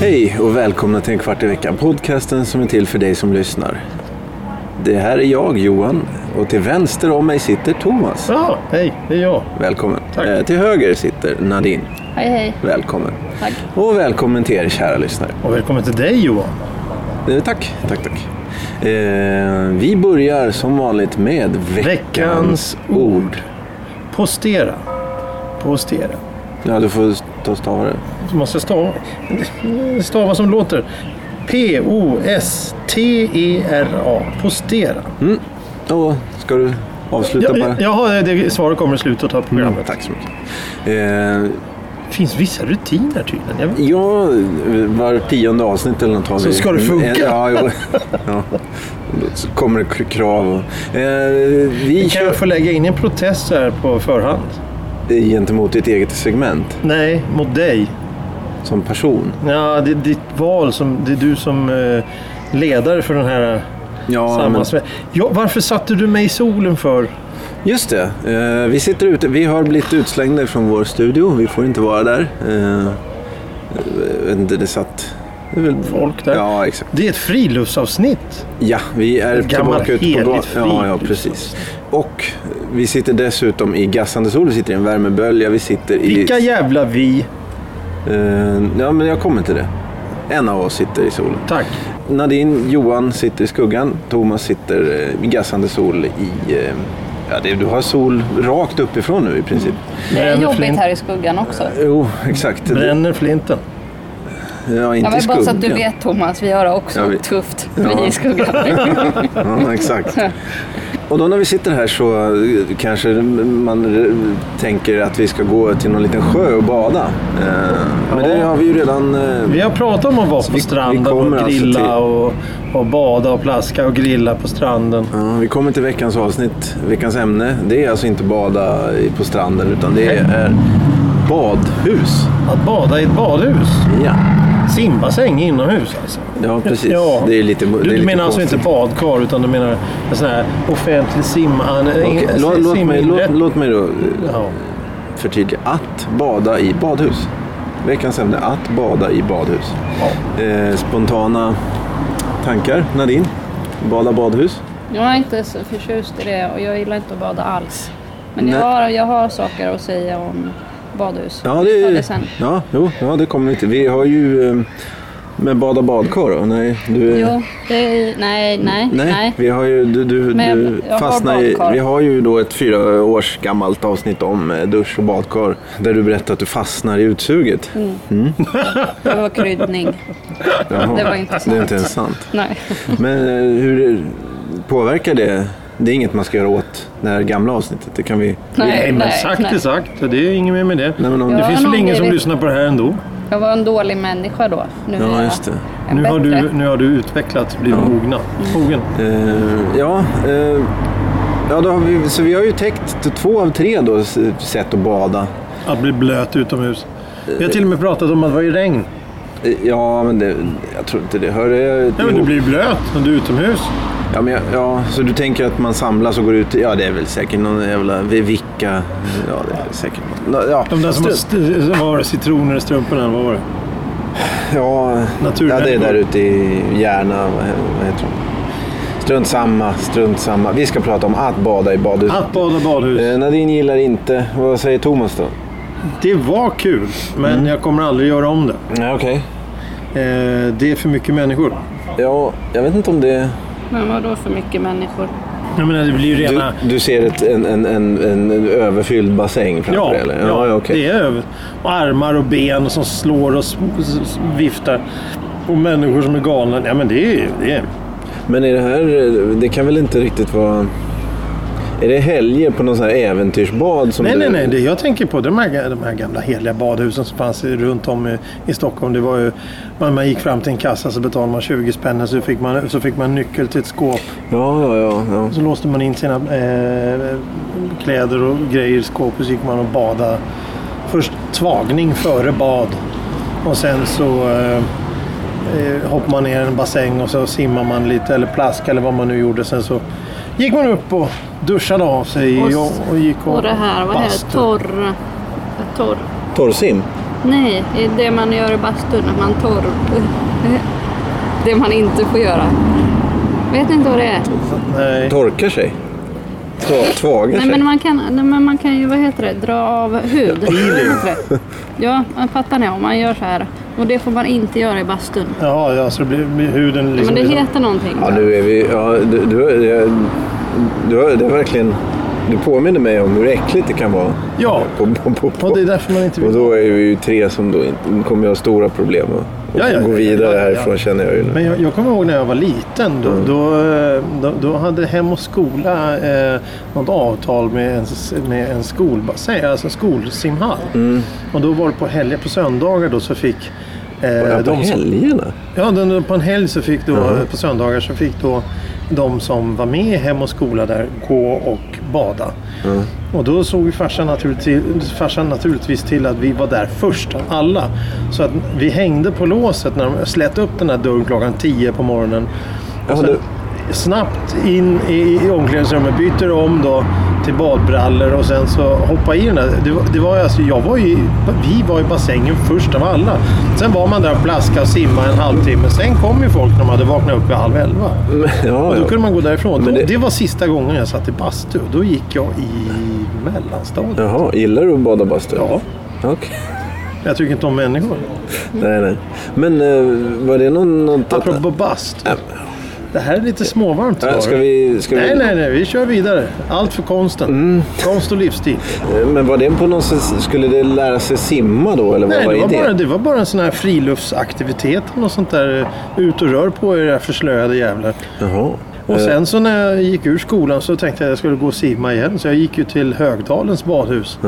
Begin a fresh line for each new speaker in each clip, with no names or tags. Hej och välkomna till En kvart i veckan, podcasten som är till för dig som lyssnar. Det här är jag, Johan, och till vänster om mig sitter Thomas.
Ja, hej, det är jag.
Välkommen.
Tack.
Eh, till höger sitter Nadine.
Hej hej.
Välkommen.
Tack.
Och välkommen till er kära lyssnare.
Och välkommen till dig Johan.
Eh, tack, tack, tack. Eh, vi börjar som vanligt med veckans,
Veckans
ord.
Postera. Postera.
Ja, du får ta och stava det.
Så måste jag stava. Stava som låter. P-O-S-T-E-R-A. E Postera.
Mm. Då ska du avsluta
Ja,
bara?
ja, jaha, det svaret kommer i slutet av programmet.
Mm, tack så mycket. Eh,
Det finns vissa rutiner tydligen. Jag...
Ja, var tionde avsnitt eller något har
Så
vi. Mm, eh,
ska det funka.
Ja, jo. ja. Så kommer det k- krav. och- Eh, vi
Kan
kör
jag få lägga in en protest så här på förhand?
gentemot ditt eget segment
Nej, mot dig.
som person.
Ja, det är ditt val. Som, det är du som eh, ledare för den här
Ja, men,
sammansvä... Ja, varför satte du mig i solen för?
just det. Eh, vi sitter ute. Vi har blivit utslängda från vår studio. Vi får inte vara där. Eh, jag vet inte, det satt... det är väl-
Folk där.
Ja, exakt.
Det är ett friluftsavsnitt.
Ja, vi är
Ett gammalt
tillbaka ute på
heligt
gatan. Ja, ja,
friluftsavsnitt.
precis. Och vi sitter dessutom i gassande sol. Vi sitter i en värmebölja. Vi sitter i...
Vilka jävla vi.
Eh, ja, men jag kommer till det. En av oss sitter i solen.
Tack.
Nadine, Johan sitter i skuggan. Thomas sitter eh, i gassande sol i... Eh, ja, det, du har sol rakt uppifrån nu i princip.
Det är
Bränner
jobbigt
flint.
här i skuggan också.
Jo, exakt. Det-
Bränner flinten.
Ja,
Ja,
inte i
men bara så att du
skuggan.
vet Thomas, vi har det också
Ja, vi-
tufft.
Ja.
Vi är i skuggan.
Ja, exakt. Och då när vi sitter här så eh, kanske man eh, tänker att vi ska gå till någon liten sjö och bada. Eh, Men det har vi ju redan... eh,
Vi har pratat om att vara på
vi
stranden
kommer
och
alltså
grilla och, och bada och plaska och grilla på stranden.
Ja, vi kommer till veckans avsnitt, veckans ämne. Det är alltså inte bada i- på stranden utan det är badhus.
Att bada i ett badhus.
Ja,
Simbassäng inomhus alltså.
ja precis.
Ja.
Det är lite det är
Du, du
lite
menar alltså
konstigt.
inte badkar utan du menar en sån här offentlig simman...
Okej,
en-
låt, låt, mig, låt,
siminrätt-
låt mig då eh,
Ja.
förtydliga. Att bada i badhus. Veckans ämne, att bada i badhus. Eh, spontana tankar, Nadine? Bada badhus?
Jag är inte så förtjust i det och jag gillar inte att bada alls. Men jag
Nej.
har, jag har saker att säga om badhus.
Ja,
Vi
det,
tar det sen.
ja, jo, ja, det kommer vi till. Vi har ju... eh, Med bada badkar då? Nej, du är...
Jo, det är, nej, nej,
Nej,
nej.
vi har ju, du, du,
Men
du
jag har
fastnar i,
badkar.
vi har ju då ett fyra års gammalt avsnitt om eh, dusch och badkar där du berättar att du fastnar i utsuget.
Mm. Det var kryddning.
Jaha,
det var inte
Det är
sant.
inte ens sant.
Nej.
Men eh, hur påverkar det? Det är inget man ska göra åt det här gamla avsnittet. Det kan vi...
Nej, men sagt är sagt. Det är inget mer med det.
Nej, men om,
Ja.
Det finns
någon
väl ingen som
grej-
lyssnar på det här ändå.
Jag var en dålig människa då. Nu är
ja,
jag
just det.
en
Nu har,
bättre.
du, nu har du utvecklats, blivit mogna. mogen.
Eh, ja, eh, ja då har vi, så vi har ju täckt två av tre då, s- sätt att bada.
Att bli blöt utomhus. Vi har till och med pratat om att vara i regn.
Eh, Ja, men det, jag tror inte det hör det
Ja, men du
ihop.
blir ju blöt när du är utomhus.
Ja, men jag, ja, så du tänker att man samlas och går ut? Ja, det är väl säkert någon jävla vicka. Ja, det är väl säkert. nå- Ja,
De där som har
strunt.
st- vad var det, citroner i strumporna, vad var det?
ja, ja,
naturmänniskor.
det är där ute i Järna. Vad he- vad heter de? Strunt samma, strunt samma. Vi ska prata om att bada i badhus.
Att bada badhus.
Eh, Nadine gillar inte. Vad säger Thomas då?
Det var kul, men jag kommer aldrig göra om det.
Nej, okej.
Eh, det är för mycket människor.
Ja, jag vet inte om det...
Men vadå för mycket människor?
Jag menar, det blir ju
Du,
rena...
du ser ett, en, en, en, en, en överfylld bassäng framför
Ja,
dig? eller?
ja,
ja okej.
det är över. Och armar och ben som slår och s- s- viftar. Och människor som är galna. Ja, men det är ju... Det är...
Men är det här, det kan väl inte riktigt vara... Är det helger på någon sån här äventyrsbad? Som
Nej,
du...
nej, nej. Det jag tänker på de här, de här gamla heliga badhusen som fanns runt om i, i Stockholm. Det var ju, man, man gick fram till en kassa så betalade man 20 spänn och så fick man, så fick man nyckel till ett skåp.
Ja, ja, ja. ja.
Och så låste man in sina eh, kläder och grejer i skåpet så gick man och badade först tvagning före bad. Och sen så eh, eh, hoppar man ner i en bassäng och så simmar man lite eller plask eller vad man nu gjorde. Sen så gick man upp och duschade av sig
Och s-
och, och gick och,
Och det här, vad heter det?
bastu.
Torr... Torr...
Torrsim?
Nej, det är det man gör i bastun, att man torr... Det man inte får göra. Vet inte vad det är.
Nej.
Torkar sig? Tva- Tvagar
Nej
sig?
men, man kan, nej men man kan ju, vad heter det, dra av hud. Vad heter det? Ja, men fattar ni? Om man gör så här. Och det får man inte göra i bastun.
Ja, ja, så det blir, blir huden
Ja,
liksom...
men det
blir så-
heter någonting.
Ja, nu är vi... Ja, du, du, har- jag- du, har- det är verkligen... Du påminner mig om hur äckligt det kan vara.
Ja.
På, på, på, på.
och det är därför man inte
Och
vill...
då är vi ju tre som då inte, kommer ju ha stora problem att
Ja, ja,
att gå
ja,
vidare
ja, ja.
härifrån känner jag ju nu.
Men jag, jag kommer ihåg när jag var liten. Då, då, eh, då, då hade Hem och Skola eh, något avtal med en, s- med en skolbassäng, alltså en skolsimhall. Och då var det på helger, på söndagar då så fick eh,
Ja, på
de som-
helgerna?
Ja, den, på en helg så fick då, på söndagar så fick då de som var med i Hem och Skola där gå och bada. Och då såg ju farsan naturligtvis, farsan naturligtvis till att vi var där först av alla. Så att vi hängde på låset när de slät upp den här dörren klockan 10 på morgonen.
Ja,
Och sen
du-
snabbt in i, i omklädningsrummet, byter om då till badbrallor och sen så hoppa i den där. Det, var- det var ju alltså, jag var ju, vi var i bassängen först av alla. Sen var man där och plaskade och simmade en halvtimme. Sen kom ju folk när de hade vaknat upp vid halv elva.
Men- Ja,
Och då
ja.
kunde man gå därifrån.
Men
det...
det-
Då, det var sista gången jag satt i bastu. Då gick jag i mellanstadiet.
Jaha, gillar du att bada bastu?
Ja,
Okej.
jag tycker inte om människor.
Nej, nej. Men eh, var det någon... något att-
Apropå bastu. Det här är lite småvarmt.
Ja,
var
Ska
det.
vi... Mm. Ska vi...
Nej, nej, nej. Vi kör vidare. Allt för konsten. Konst och livsstil.
Eh, Men var det på något sätt... Skulle det lära sig simma då? Eller vad
Nej, det
var
var, bara,
idén?
det var bara en sån här friluftsaktivitet. eller Något sånt där. Ut och rör på er era förslöade jävlar.
Jaha.
Och sen så när jag gick ur skolan så tänkte jag att jag skulle gå och simma igen. Så jag gick ju till Högdalens badhus.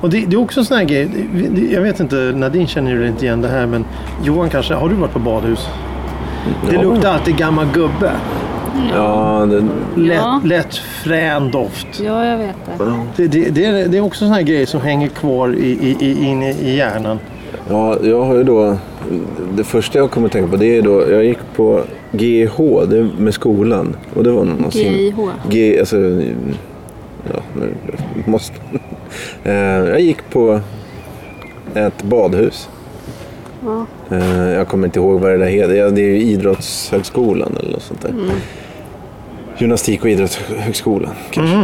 Och det, det är också en sån här grej. Det- det- Jag vet inte, Nadine känner ju inte igen det här men Johan kanske, har du varit på badhus? Det
Ja.
luktar alltid gammal gubbe.
Ja, det...
Lätt,
Ja.
lätt frän doft.
Ja, jag vet det.
Det, det, det, är, det är också en sån här grej som hänger kvar i, i, i, in i- i hjärnan.
Ja, jag har ju då... Det första jag kommer att tänka på det är då... Jag gick på GH det är med skolan. Och det var någon sim-
GIH.
G, alltså... Ja, nu måste... Eh, Jag gick på ett badhus.
Ja.
Eh, Jag kommer inte ihåg vad det där heter. Ja, Det är ju idrottshögskolan eller något sånt där. Gymnastik och idrottshögskolan kanske.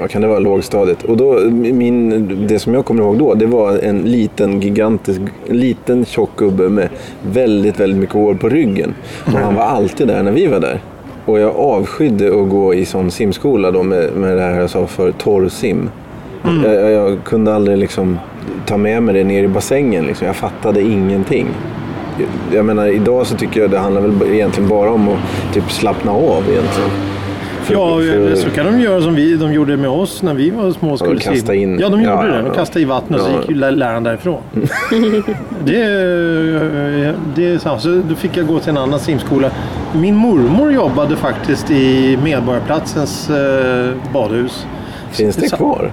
Vad kan det vara? Lågstadiet. Och då, min, det som jag kommer ihåg då, det var en liten gigantisk, liten tjock gubbe med väldigt, väldigt mycket hår på ryggen. Och han var alltid där när vi var där. Och jag avskydde att gå i sån simskola då med, med det här jag sa för torrsim. Jag, jag, jag kunde aldrig liksom ta med mig det ner i bassängen. Liksom. Jag fattade ingenting. Jag menar, idag så tycker jag det handlar väl egentligen bara om att typ slappna av egentligen. För-
Ja,
för-
så kan de göra som vi, de gjorde med oss när vi var små och skulle
kasta
simma.
in-
Ja, de gjorde
ja, ja,
det. De
ja.
kastade i vattnet och
Ja.
så gick ju lä- läraren därifrån. det, är- det är sant. Så då fick jag gå till en annan simskola. Min mormor jobbade faktiskt i Medborgarplatsens eh, badhus.
Finns det
Så-
kvar?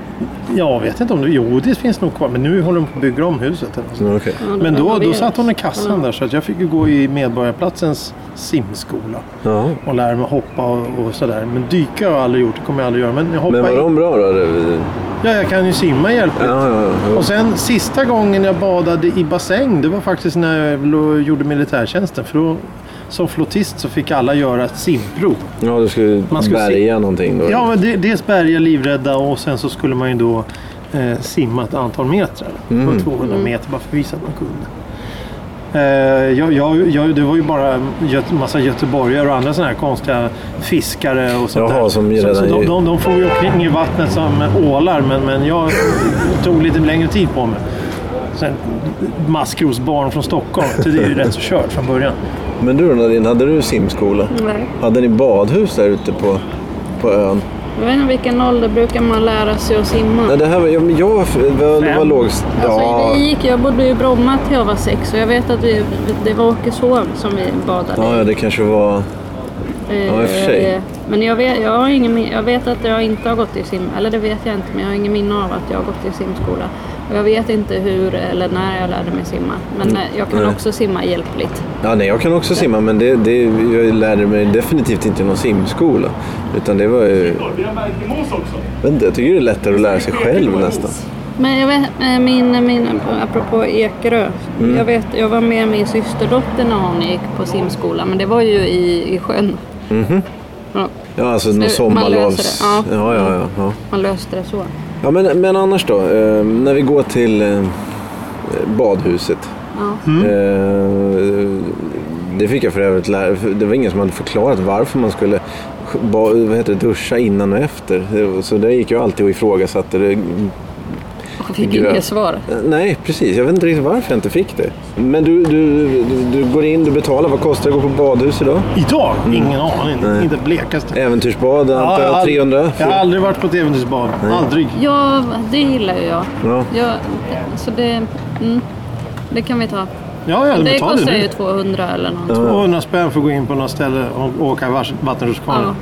Jag vet inte om det... Jo, det finns nog kvar. Men nu håller de på att bygga om huset. Eller något sånt.
Ja, Mm, okej.
Men då, då satt hon i
Ja.
kassan där så att jag fick ju gå i Medborgarplatsens simskola.
Ja.
Och lära mig hoppa och, och sådär. Men dyka har jag aldrig gjort, det kommer jag aldrig göra. Men jag hoppar
Men var
in.
de bra då?
Ja, jag kan ju simma hjälpligt.
Ja, ja, ja.
Och sen sista gången jag badade i bassäng, det var faktiskt när jag lo- gjorde militärtjänsten. För då, som flottist så fick alla göra ett simprov.
ja, du skulle
Man skulle
bärga någonting då?
Ja, men det, dels bärga livrädda och sen så skulle man ju då eh, simma ett antal metrar. Det
Mm.
var 200 meter bara för att visa att man kunde. Eh, jag, jag, jag, det var ju bara göt, massa göteborgare och andra sådana här konstiga fiskare och sånt
Jaha,
där.
som ju
så, så
redan
de,
ju-
de, de får ju omkring i vattnet som ålar men, men jag tog lite längre tid på mig. Sen, maskrosbarn från Stockholm, så det är ju rätt så kört från början.
Men du då Nadine, hade du simskola?
Nej.
Hade ni badhus där ute på, på ön?
Jag vet inte vilken ålder brukar man lära sig att simma.
Nej, det här var... Jag, men jag, jag, det var
Fem.
lågst...
Alltså,
Ja.
vi gick, jag bodde i Bromma till jag var sex och jag vet att vi, det var Åkeshov som vi badade
ja, ja, det kanske var...
i.
ja, i och för sig.
Eh, Men jag vet, jag, har ingen, min- jag vet att jag inte har gått i sim, eller det vet jag inte, men jag har ingen minne av att jag har gått i simskola. Och jag vet inte hur eller när jag lärde mig simma. Men eh, jag kan
Mm. Nej.
också simma hjälpligt.
Ja, nej, jag kan också simma, men det, det, jag lärde mig definitivt inte i någon simskola. Utan det var ju...
Vi har märkemos också.
Jag vet inte, jag tycker det är lättare att lära sig själv nästan.
Men jag vet, eh, min, min, apropå Ekerö.
Mm.
Jag, vet, jag var med min systerdotter när hon gick på simskola, men det var ju i, i sjön.
Mhm.
Ja,
Ja, alltså någon
man
sommarlovs...
löser det, ja.
ja, ja, ja, ja.
man löste det så.
ja men, men annars då? Eh, när vi går till eh, badhuset.
Ja.
Eh, det fick jag för övrigt lära för Det var ingen som hade förklarat varför man skulle sk- ba, vad heter det, duscha innan och efter. Det- Så det gick jag alltid och ifrågasatte. Det.
Och fick
Gröt.
inget svar.
Eh, Nej, precis. Jag vet inte riktigt varför jag inte fick det. Men du, du, du, du går in, du betalar. Vad kostar det att gå på badhus idag?
Idag?
Mm.
Ingen aning. Inte blekaste.
Äventyrsbad, antar
har
jag.
ald-
300?
jag har aldrig varit på ett äventyrsbad. Aldrig.
Ja, det gillar ju jag.
Ja.
Jag- så det, mm, det kan vi ta.
Ja, ja,
Det
men ta det
kostar ju
nu.
200 eller något.
200 spänn för att gå in på något ställe och åka vars- vattenrutschkana.
Ja.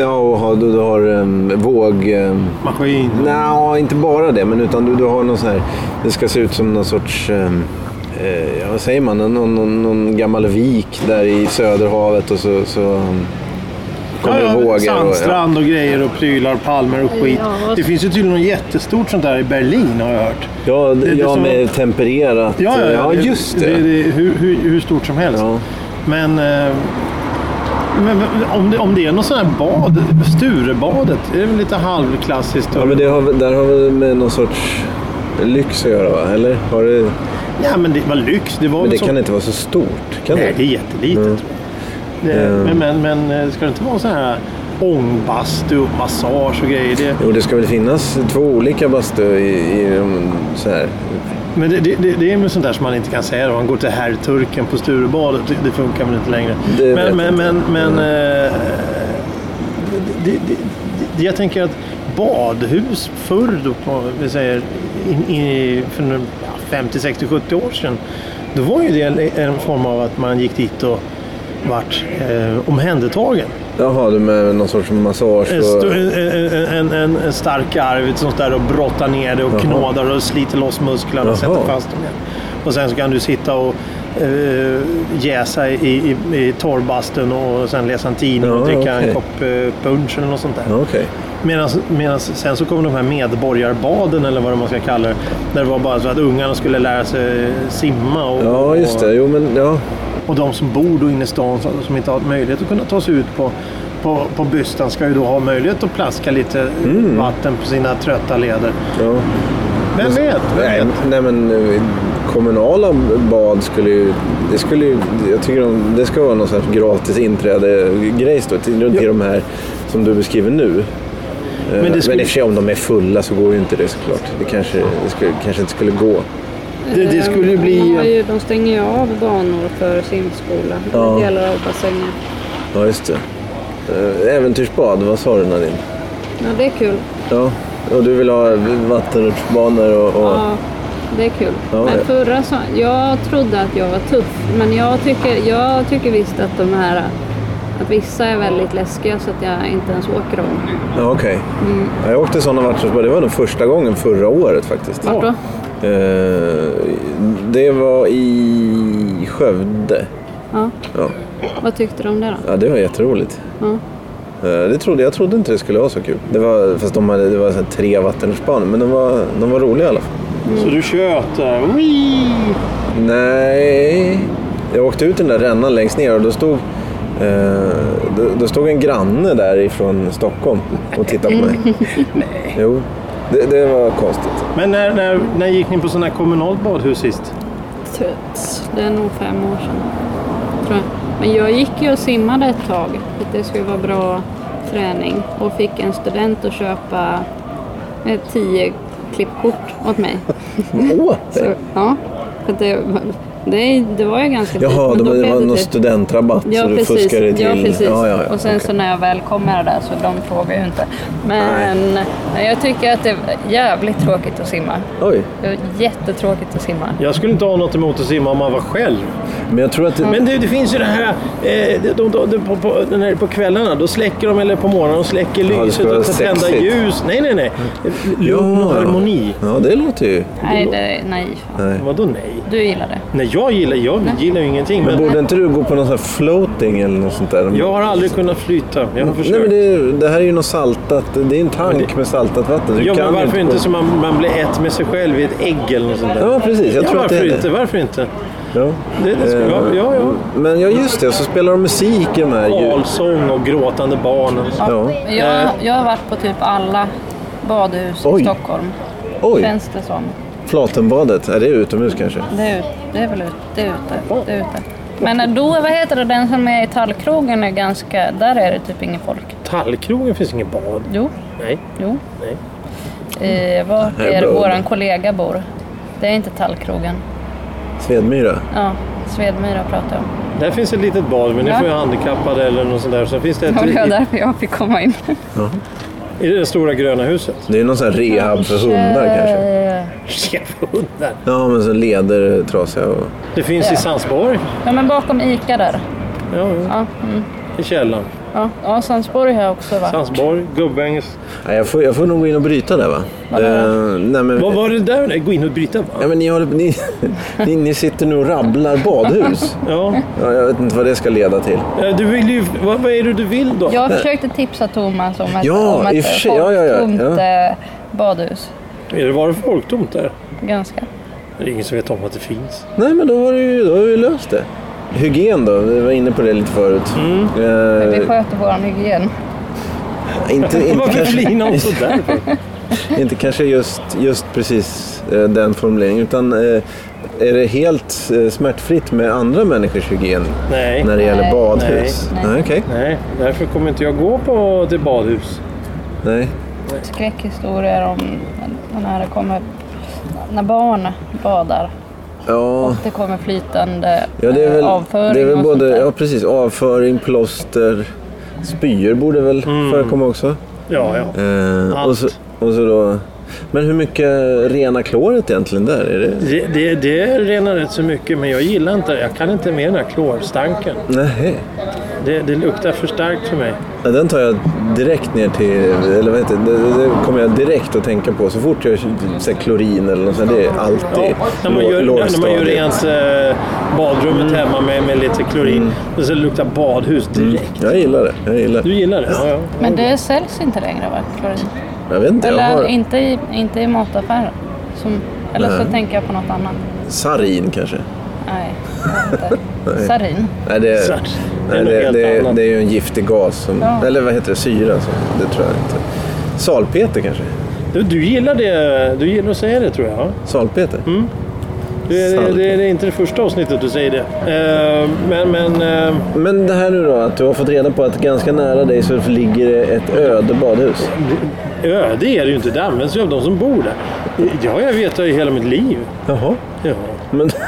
Ja, och har, du, du har um, våg... Um,
Maskin.
Nej, inte bara det, men utan du, du har någon sån här... Det ska se ut som någon sorts... ehm, Eh, ja, vad säger man? Någon, någon, någon gammal vik där i Söderhavet och så... så um, kommer
Ja,
det
ja,
vågor. och- ja.
Sandstrand och grejer och prylar, palmer och skit.
Ja, och-
Det finns ju tydligen något jättestort sånt där i Berlin har jag hört.
Ja,
det
det,
är
ja
som-
med tempererat. just det.
det, är hur, hur, hur stort som helst.
Ja.
Men, eh, men om, det, om det är något sånt här bad, Sturebadet, är det väl lite halvklassiskt?
Ja, men det har, väl- där har väl med någon sorts lyx att göra, va? Eller? Har det,
Ja, men det var lyx. Det var
men
väl
det
så...
kan inte vara så stort, kan
Nej, det
det?
är jättelitet.
Mm.
tror jag. Det, men, men, men eh, ska det inte vara sån här ångbastu och massage och grejer? Det,
Jo, det ska väl finnas två olika bastu i, i de så här.
men det, det, det, det är väl sånt där som man inte kan säga. Om man går till herrturken på Sturebadet, det, det funkar väl inte längre.
Det vet jag
men men,
inte. Mm.
men, men eh, det, det, det, jag tänker att badhus förr, då, på, vi säger, in, in, för nu, ja, 50, 60, 70 år sedan, då var ju det en, en form av att man gick dit och vart eh, omhändertagen.
Jaha, du med någon sorts massage
En,
och...
sto- en, en, en, en, en stark arv som står där och brottar ner det och knådar och sliter loss musklerna och
Jaha.
sätter fast dem igen. Och sen så kan du sitta och eh, jäsa i, i, i torrbastun och sen läsa en tidning och
Ja,
dricka en
okej.
kopp eh, punch eller något sånt där.
Ja, Okej.
Medans, medans, sen så kom de här medborgarbaden eller vad man ska kalla det. Där det var bara så att ungarna skulle lära sig simma. Och,
Ja, just det. Jo, men ja.
och de som bor då inne i stan som- som inte har möjlighet att kunna ta sig ut på, på, på bystan ska ju då ha möjlighet att plaska lite vatten på sina trötta leder.
ja.
Mm. Vem vet? Vem
Nej,
vet?
nej, men eh, kommunala bad skulle ju... Det skulle ju... Jag tycker de, det ska vara någon sorts gratis inträde-grej då, till- runt i de här som du beskriver nu. Eh, Men,
det
det
skulle-
men i och för sig om de är fulla så går ju inte det såklart. Det kanske, det skulle, kanske inte skulle gå.
Det, det skulle ju
De, har
bli...
ju, de stänger ju av banor för simskola.
Ja.
Delar av bassänger.
Ja, just det. Eh, Äventyrsbad, vad sa du Nadine?
Ja, det är kul.
Ja, och du vill ha vattenrutschbanor och... och...
Ja, det är kul.
Ja,
men
ja.
förra så, jag trodde att jag var tuff, men jag tycker, jag tycker visst att de här att vissa är väldigt läskiga så att jag inte ens åker dem.
Ja, okej.
Mm.
Ja, jag åkte sådana vattenrutschbanor. Det var den första gången förra året faktiskt.
Vart då?
Eh, det var i Skövde.
Ja.
Ja,
Vad tyckte du om det då?
ja det var jätteroligt.
Ja.
Eh, det trodde, jag trodde inte det skulle vara så kul. Det var, fast de hade, det var så här tre vattenrutschbanor, men de var, de var roliga i alla fall.
Så du tjöt? eh, "Wii!"
Nej, jag åkte ut den där rännan längst ner och då stod, eh, då, då stod en granne där ifrån Stockholm och tittade på mig. Nej. Jo, det, det var konstigt.
Men när, när, när gick ni på sådana här kommunalt badhus sist?
Tuts. Det är nog fem år sedan. Tror jag. Men jag gick ju och simmade ett tag för att det skulle vara bra träning och fick en student att köpa eh, tio klippkort åt mig.
Åh,
Så, ja, för att det, Det, det var ju ganska
Jaha,
men
de,
då
det
blev
var
det
någon
typ-
studentrabatt
Ja,
så du
precis.
fuskade till...
Ja, precis.
Ja, ja, ja.
Och sen
okej.
så när jag väl kommer där så de frågar ju inte. Men nej, jag tycker att det är jävligt tråkigt att simma.
Oj,
Det var jättetråkigt att simma.
Jag skulle inte ha något emot att simma om man var själv.
men jag tror att...
Men du, det finns ju det här eh, de, de, de, på, på, den här, på kvällarna, då släcker de, eller på morgonen, de släcker
Ja, det
lyset
ska vara
och tända
sexigt.
ljus. Nej, nej, nej. Lugn och
Ja.
harmoni.
Ja, det låter ju...
Nej, det, nej. fan.
Nej.
Vadå nej?
Du gillar det.
Nej, jag gillar, jag gillar ju ingenting. Men,
Men borde inte du gå på någon sån här floating eller något sånt där?
jag har aldrig kunnat flyta. Jag har försökt.
Mm. Nej, men det, det här är ju något saltat. Det är en tank med saltat vatten. Du
ja, men
kan
varför inte,
gå-
så man, man blir ett med sig själv i ett ägg eller något sånt där?
Ja, precis. Jag
ja,
tror att
varför
det är
inte?
det.
Varför inte?
Ja.
Det, det skulle, ja,
Eh,
ja, ja.
Men ja, just det. Så spelar de musik i de här ljuden.
Valsång och gråtande barn. och-
Ja.
Jag, jag har varit på typ alla badhus
Oj.
i Stockholm.
Oj,
Känns det som.
Flatenbadet. Är det utomhus kanske?
Det är, ut, det är väl ut, det är ute. Det är ute. Men då, vad heter det, den som är i Tallkrogen är ganska... Där är det typ inget folk.
Tallkrogen finns ingen bad.
Jo,
Nej.
jo.
Nej.
Eh, vart
Mm. Det här är
är
bra.
våran kollega bor? Det är inte Tallkrogen.
Svedmyra.
Ja, Svedmyra pratar jag om.
Där finns ett litet bad, men det
Ja.
får ju handikappade eller något sånt där. Sen finns det ett
Det var
i,
därför jag fick komma in.
i det stora gröna huset.
Det är någon sån här rehab för hundar
Eh.
kanske.
Chefhundar.
Ja, men så leder trasiga och...
Det finns i
Ja.
Sandsborg,
Ja, men bakom Ica där.
ja,
Ja, mm.
i källaren.
ja. ja Sandsborg har jag också varit.
Sandsborg, Gubbängs.
Nej, jag, får, jag får nog gå in och bryta där va?
Vadå?
Eh, nej, men...
Vad var det där? Gå in och bryta
Ja,
va?
men ni, håller, ni, ni, ni sitter nu och rabblar badhus.
Ja.
Ja, jag vet inte vad det ska leda till.
Eh, Du vill ju, vad, vad är det du vill då?
Jag försökte tipsa Thomas om ett,
Ja, i
om
och
ett
för sig. Ja, ja, ja.
folktomt
Ja.
eh, badhus.
Är det bara folktomt där?
Ganska.
Det är ingen som vet om att det finns.
Nej, men då, var det ju, då har vi löst det. Hygien då? Vi var inne på det lite förut. Eh,
Vi sköter våran hygien.
inte, inte,
Varför
kanske,
flinar hon sådär för?
inte kanske just, just precis eh, den formuleringen, utan eh, är det helt eh, smärtfritt med andra människors hygien
Nej.
när det gäller
Nej.
badhus?
Nej.
Nej, okej.
Nej, därför kommer inte jag gå på till badhus.
Nej.
Skräckhistorier om när det kommer... När barn badar.
Ja.
Det kommer flytande
Ja, det är
eh,
väl,
avföring
det är väl
och sånt
både,
där.
ja, precis, avföring, plåster, spyor borde väl förekomma också.
Ja, ja.
Eh, och, så,
Mm. Allt.
och så då, men hur mycket rena kloret egentligen där? Är det?
Det, det, det renar rätt så mycket, men jag gillar inte det. Jag kan inte med den här klorstanken.
Nej.
Det, det luktar för starkt för mig.
Ja, den tar jag direkt ner till, eller vad heter det, det, det kommer jag direkt att tänka på. Så fort jag så här, klorin eller något sånt, det är alltid
När man gör,
lå-
när man gör
lågstadiet. Mm.
rent eh, badrummet hemma med, med lite klorin, och så luktar badhus direkt.
Jag gillar det, jag gillar
Du
det.
gillar det? Ja, ja.
Men det säljs inte längre va? Klorin?
Jag vet inte, jag
Eller
har
inte, i, inte i mataffärer. Som, eller så tänker jag på något annat.
sarin kanske.
Nej, jag vet inte. Sarin.
Nej, det,
Så, det
nej,
är något
det,
helt
det,
annat.
det är ju en giftig gas, som,
Ja.
eller vad heter det, syra. Som, det tror jag inte. Salpeter kanske?
Du, du gillar det. Du gillar att säga det tror jag.
Salpeter?
Mm. Det, det,
Salt.
det, det är inte det första avsnittet du säger det. Eh, men men eh,
Men det här nu då, att du har fått reda på att ganska nära dig så ligger det ett öde badhus.
öde är det ju inte. Det används ju av de som bor där. Ja, jag vet det i hela mitt liv.
Jaha.
Ja.
Men...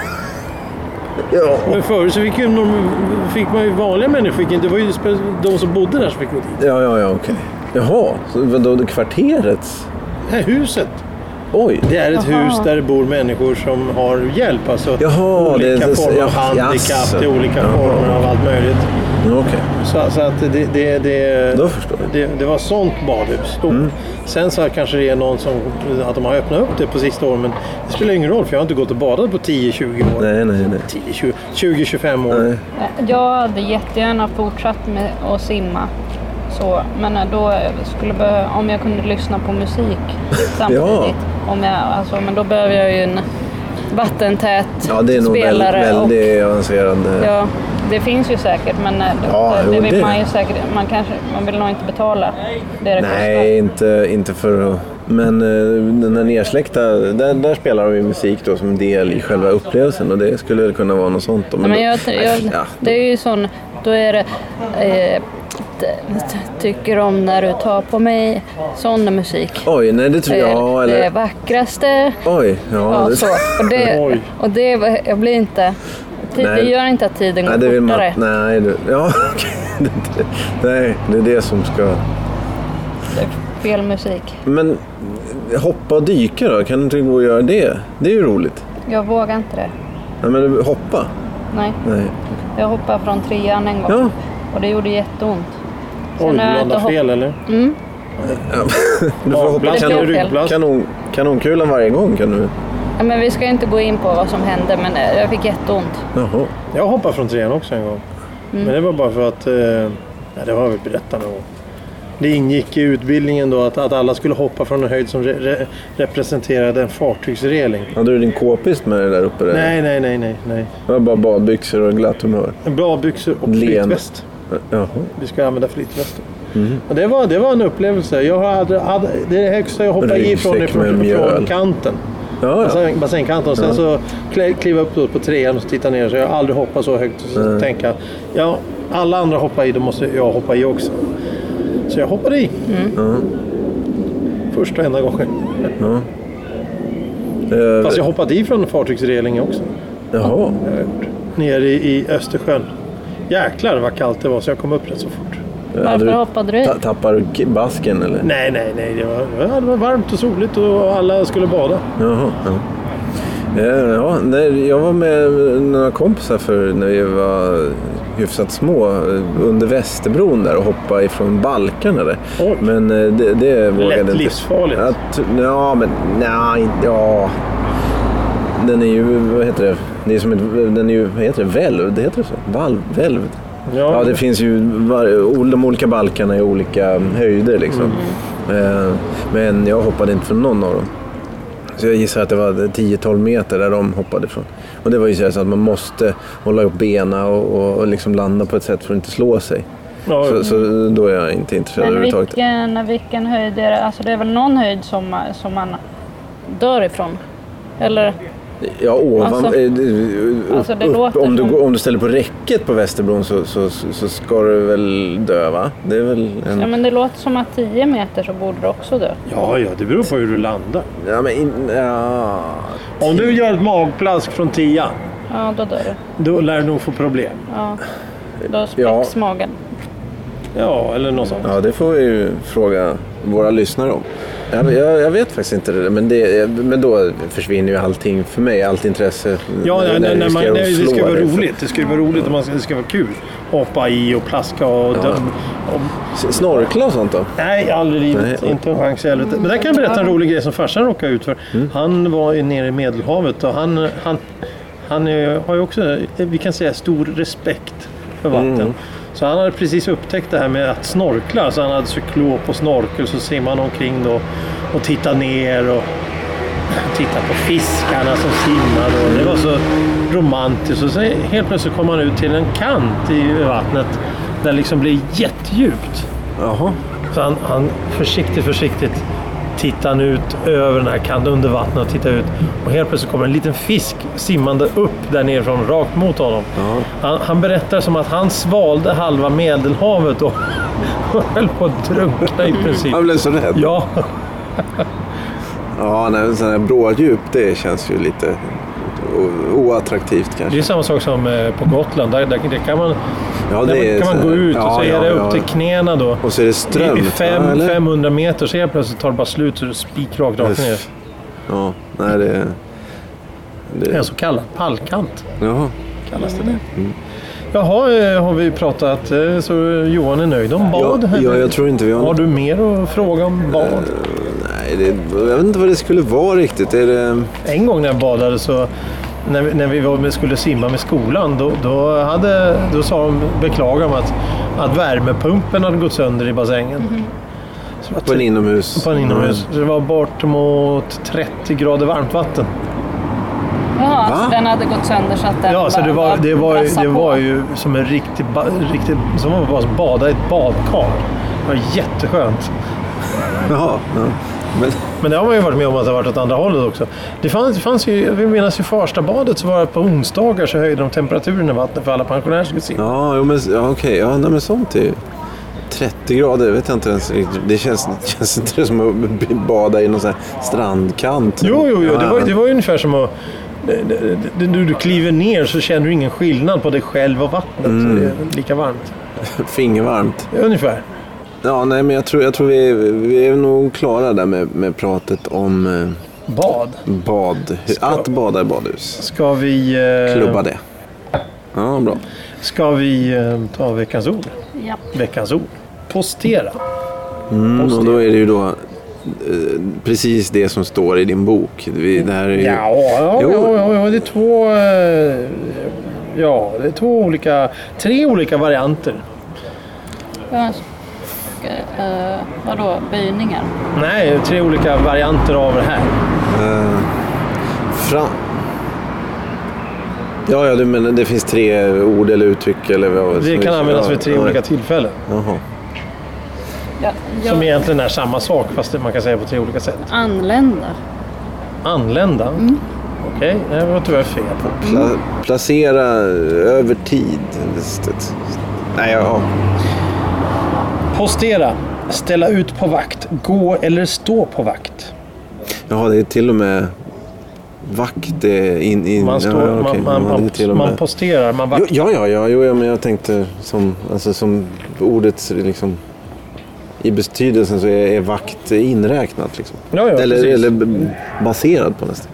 ja.
Men förut så fick, ju, norm- fick man ju vanliga människor. fick inte- Det var ju spe- de som bodde där som fick gå dit.
Ja, ja, ja, okej. Jaha, så vadå, det kvarterets?
Det här huset.
Oj.
Det är ett
Jaha.
hus där det bor människor som har hjälp. Alltså
Jaha, det är-
olika
det-
former
ja,
av handikapp,
jaså.
det är olika
Jaha.
former av allt möjligt.
Ja, Okej,
Så, så att det, det, det,
då förstår jag. Mm.
det, det var sånt badhus. Stort. Sen så här kanske det är någon som, att de har öppnat upp det på sista åren. Men det spelar ingen roll för jag har inte gått och badat på 10-20 år.
Nej, nej, nej.
10, 20, 25 år.
Nej.
Jag hade jättegärna fortsatt med att simma. Så, men eh, då skulle behö- om jag kunde lyssna på musik samtidigt. om jag, alltså, men då behöver jag ju en vattentät
Ja, det är nog väl,
spelare. och,
väldigt avancerad... eh,
ja, det finns ju säkert men eh,
Ja,
det, det
jo,
vill
det.
man ju säkert. Man, kanske, man vill nog inte betala det det
Nej, inte, inte för att... Men eh, den här nersläckta, där, där spelar de ju musik då som en del i själva upplevelsen och det skulle väl kunna vara något sånt. Då,
Ja, Men
då-
jag,
nej,
jag,
ja.
det är ju sån, då är det eh, t- tycker om när du tar på mig sån musik.
Oj, nej det tror
Det
jag...
är
Ja,
Eh, det
eller...
vackraste.
Oj, ja.
Ja,
det-
så. Och det,
Oj.
och det jag blir inte... Tid, det
Nej.
gör inte att tiden går
Nej, det vill man...
fortare.
Nej, det... Ja, okej. Det- det- nej, det är det som ska...
Det är Fel musik.
Men eh, hoppa och dyka då? Kan du inte gå och göra det? Det är ju roligt.
Jag vågar inte det.
Nej, men hoppa?
Nej.
Nej.
Jag hoppade från trean en gång.
Ja.
Och det gjorde jätteont.
Oj,
Sen har jag
blanda
inte hopp-
fel eller?
Du får hoppa
Avblast
Det
eller
blev fel.
ryggblast?
kanon, kanonkulan varje gång. Kan du...
Ja, men vi ska inte gå in på vad som hände, men eh, jag fick jätteont.
Jaha.
Jag hoppade från trean också en gång.
Mm.
Men det var bara för att... Eh, nej, det har jag väl berättat någon gång. Det ingick i utbildningen då att, att alla skulle hoppa från en höjd som re, re, representerade en fartygsreling.
Hade du din k-pist med dig där uppe? Där?
Nej, nej, nej, nej. nej.
Det var bara badbyxor och glatt humör.
Bra byxor och
Leende.
flytväst.
Jaha.
Vi ska använda flytvästen.
Mhm.
Och det, var, det var en upplevelse. Jag hade, hade, det är det högsta jag hoppade i från,
Ryggsäck med
från,
mjöl.
från kanten.
Ja, ja.
Bassäng, bassängkanten. Och sen så kl- kliva upp då på trean och titta ner. Så jag har aldrig hoppat så högt. Så tänka, ja, alla andra hoppar i, då måste jag hoppa i också. Så jag hoppade i. Första och enda gången.
Eh,
Fast jag hoppade i från fartygsrelingen också.
Jaha.
Nere i, i Östersjön. Jäklar vad kallt det var så jag kom upp rätt så fort.
Hade
Varför
du-
hoppade du i?
Ta- tappar du k- basken eller?
Nej, nej, nej. Det var, ja, det var varmt och soligt och alla skulle bada.
Jaha. Ja. Eh, Ja, nej, jag var med några kompisar för när vi var hyfsat små eh, under Västerbron där och hoppade ifrån balkarna där.
Oj.
Men eh, det, det vågade
Lätt
inte.
livsfarligt.
Ja, t- ja, men nej, inte- ja. Den är ju, vad heter det? det är som ett, den är ju, vad heter det? Välv? Det heter det så? Valv? Välv? Ja, det finns ju var, ol- de olika balkarna i olika höjder liksom. Eh, Men jag hoppade inte från någon av dem. Så jag gissar att det var 10-12 meter där de hoppade ifrån. Och det var ju så här så att man måste hålla upp benen och, och, och liksom landa på ett sätt för att inte slå sig.
ja,
Så, så då är jag inte intresserad
Men
överhuvudtaget.
vilken, vilken höjd är det? Alltså det är väl någon höjd som, som man dör ifrån? Eller?
Ja, ovan,
Alltså-
eh, upp,
Alltså, det
upp,
låter
om, du,
som-
går- om du ställer på räcket på Västerbron så, så, så, så ska du väl dö va? Det är väl en...
Ja, men det låter som att 10 meter så borde du också dö.
ja, ja, det beror på hur du landar.
Ja, men in, ja.
Om du gör ett magplask från tian,
Ja, då dör du.
då lär du nog få problem.
Ja. Då spräcks magen.
Ja, eller något sånt.
Ja, det får vi ju fråga våra lyssnare om. Jag, jag, jag vet faktiskt inte det, där, men, det, men då försvinner ju allting för mig, allt intresse.
Ja, när, när, man,
riskerar att
när det ska
slå
vara
dig.
roligt. Det ska ju vara roligt och man ska, det ska vara kul. Hoppa i och plaska och döm. Och,
S- Snorkla och sånt då?
nej, aldrig i livet.
Nej.
Inte en chans i helvete. Men där kan jag berätta en rolig grej som farsan råkade ut för. Han var ju nere i Medelhavet och han, han, han eh, har ju också, eh, vi kan säga, stor respekt för vatten. Så han hade precis upptäckt det här med att snorkla. Så han hade cyklop och snorkel så simmade han omkring då och tittade ner. Och, titta på fiskarna som simmade och det var så romantiskt. Och sen helt plötsligt kom han ut till en kant i vattnet där det liksom blev jättedjupt.
Jaha.
Så han, han försiktigt, försiktigt tittar han ut över den här kanten under vattnet och tittar ut. Och helt plötsligt kommer en liten fisk simmande upp där nerifrån, rakt mot honom. Han, han berättar som att han svalde halva Medelhavet och höll på att drunkna i princip.
Han blev så rädd. Ja,
Ja,
ja nej, sådana här bråddjup, det känns ju lite o- oattraktivt
det är
kanske.
samma sak som eh, på Gotland. Där, där, där kan man
Ja,
Där
är
kan man
så här-
gå ut och
ja,
så är
ja,
det upp
ja.
till knäna då.
Och så är det strömt.
I fem,
ja, eller?
500 meter så helt plötsligt tar det bara slut så det är spikrakt rakt ner.
Uff. Ja, nej det...
Det är en
det
så kallad pallkant.
jaha.
Kallas det det. Jaha, eh, har vi pratat eh, så Johan är nöjd om bad.
Ja, ja, jag tror Eh. inte vi har...
Har du mer att fråga om bad?
Nej, det, jag vet inte vad det skulle vara riktigt. Är det...
En gång när jag badade så när vi, när vi var, skulle simma med skolan då, då, hade, då sa de, beklagade de att, att värmepumpen hade gått sönder i bassängen.
Mhm.
Så det var
På en Mm. inomhus?
Typ- På en inomhus. Så det var bortemot 30 grader varmt vatten.
Jaha, alltså den hade gått sönder så att den
Ja, så
bara-
det var,
bara
det var, ju,
brassade
det
på.
var ju som en riktig... Ba, riktig som att bara bada i ett badkar. Det var jätteskönt.
Jaha. Ja. Men,
Men det har man ju varit med om att det har varit åt andra hållet också. Det fanns, det fanns ju, jag vill minnas i Farstabadet så var det på onsdagar så höjde de temperaturen i vattnet för alla pensionärer skulle simma.
ja, jo, men, ja okej. Ja, nej, men sånt är ju... 30 grader, vet jag inte ens. riktigt. Det känns, det känns inte som att b- bada i någon sån här strandkant.
Jo, jo, jo. Det var,
Ja.
det var ju ungefär som att... det- det- det- Du, du kliver ner så känner du ingen skillnad på dig själv och vattnet.
Mm.
Så det är lika varmt.
Fingervarmt.
Ungefär.
Ja, nej, men jag tror, jag tror vi, är, vi är nog klara där med, med pratet om eh,
Bad.
bad. hur- Att bada i badhus.
Ska vi... eh,
Klubba det. Ja, bra.
Ska vi eh, ta veckans ord?
Ja.
Veckans ord. Postera.
Mm, och då är det ju då eh, precis det som står i din bok. Vi, det här är ju...
Ja, ja,
Jo.
ja, ja, ja, det är två... eh, Ja, det är två olika... Tre olika varianter.
Eh, eh, vadå, böjningar?
Nej, tre olika varianter av det här.
Fram... Ja, ja, du menar det finns tre ord eller uttryck eller vad
Det
som-
kan användas
ja,
vid tre
ja.
olika tillfällen.
Jaha.
Ja,
Som
jag
egentligen är samma sak fast det man kan säga på tre olika sätt.
anländer.
Anlända.
Mm.
Okej, det var tyvärr fel.
Pla- placera över tid. Nej, ja.
Postera. Ställa ut på vakt. Gå eller stå på vakt.
Jaha, det är till och med vakt eh, in, in.
Man, står,
ja, okej.
man,
Ja, det är
man,
till och
man, man
med-
posterar. Man
Jo,
vakt.
Ja, ja, ja, jo, ja, men jag tänkte som, alltså, som ordet liksom, i betydelsen så är, är vakt inräknat. Liksom.
Ja, ja,
eller,
precis.
eller b- baserad på nästan.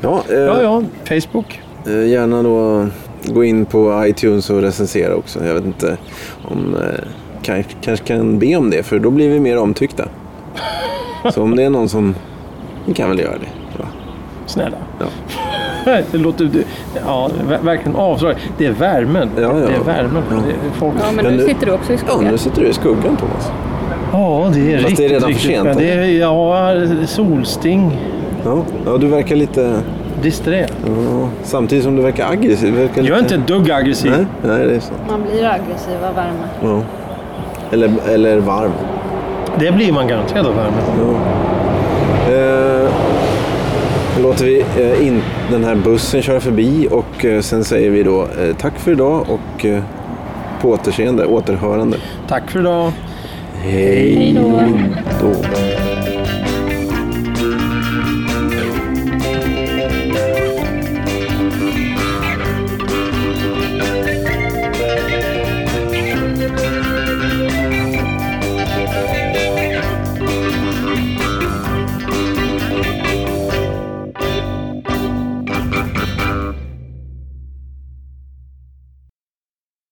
Ja, eh,
Ja, ja. Facebook.
eh, Gärna då gå in på iTunes och recensera också. Jag vet inte om... Eh, kan- kanske kan be om det, för då blir vi mer omtyckta. Så om det är någon som... Vi kan väl göra det. Va?
Snälla.
Ja.
Det låter... det- Ja, ver- verkligen avslag. Det är värmen.
Ja, ja.
Det är värmen.
Ja.
Det är folk.
Ja, men
Men
nu
nu-
sitter du också i
Ja, nu
skogen.
sitter du i skuggan, Thomas.
Ja, det är
Fast
riktigt,
det är redan för
riktigt.
sent,
Men det är, ja, solsting.
Ja, ja du verkar lite...
Disträ.
Ja, samtidigt som du verkar aggressiv. Du verkar
Jag
lite...
är inte ett dugg aggressiv.
Nej, nej, det är sant.
Man blir aggressiv av värme.
Ja. Eller, eller varm.
Det blir man garanterad av värmen.
Eh, nu låter vi eh, in den här bussen köra förbi och eh, sen säger vi då eh, tack för idag och eh, på återseende, återhörande.
Tack för idag.
Hej
Hej då.
då.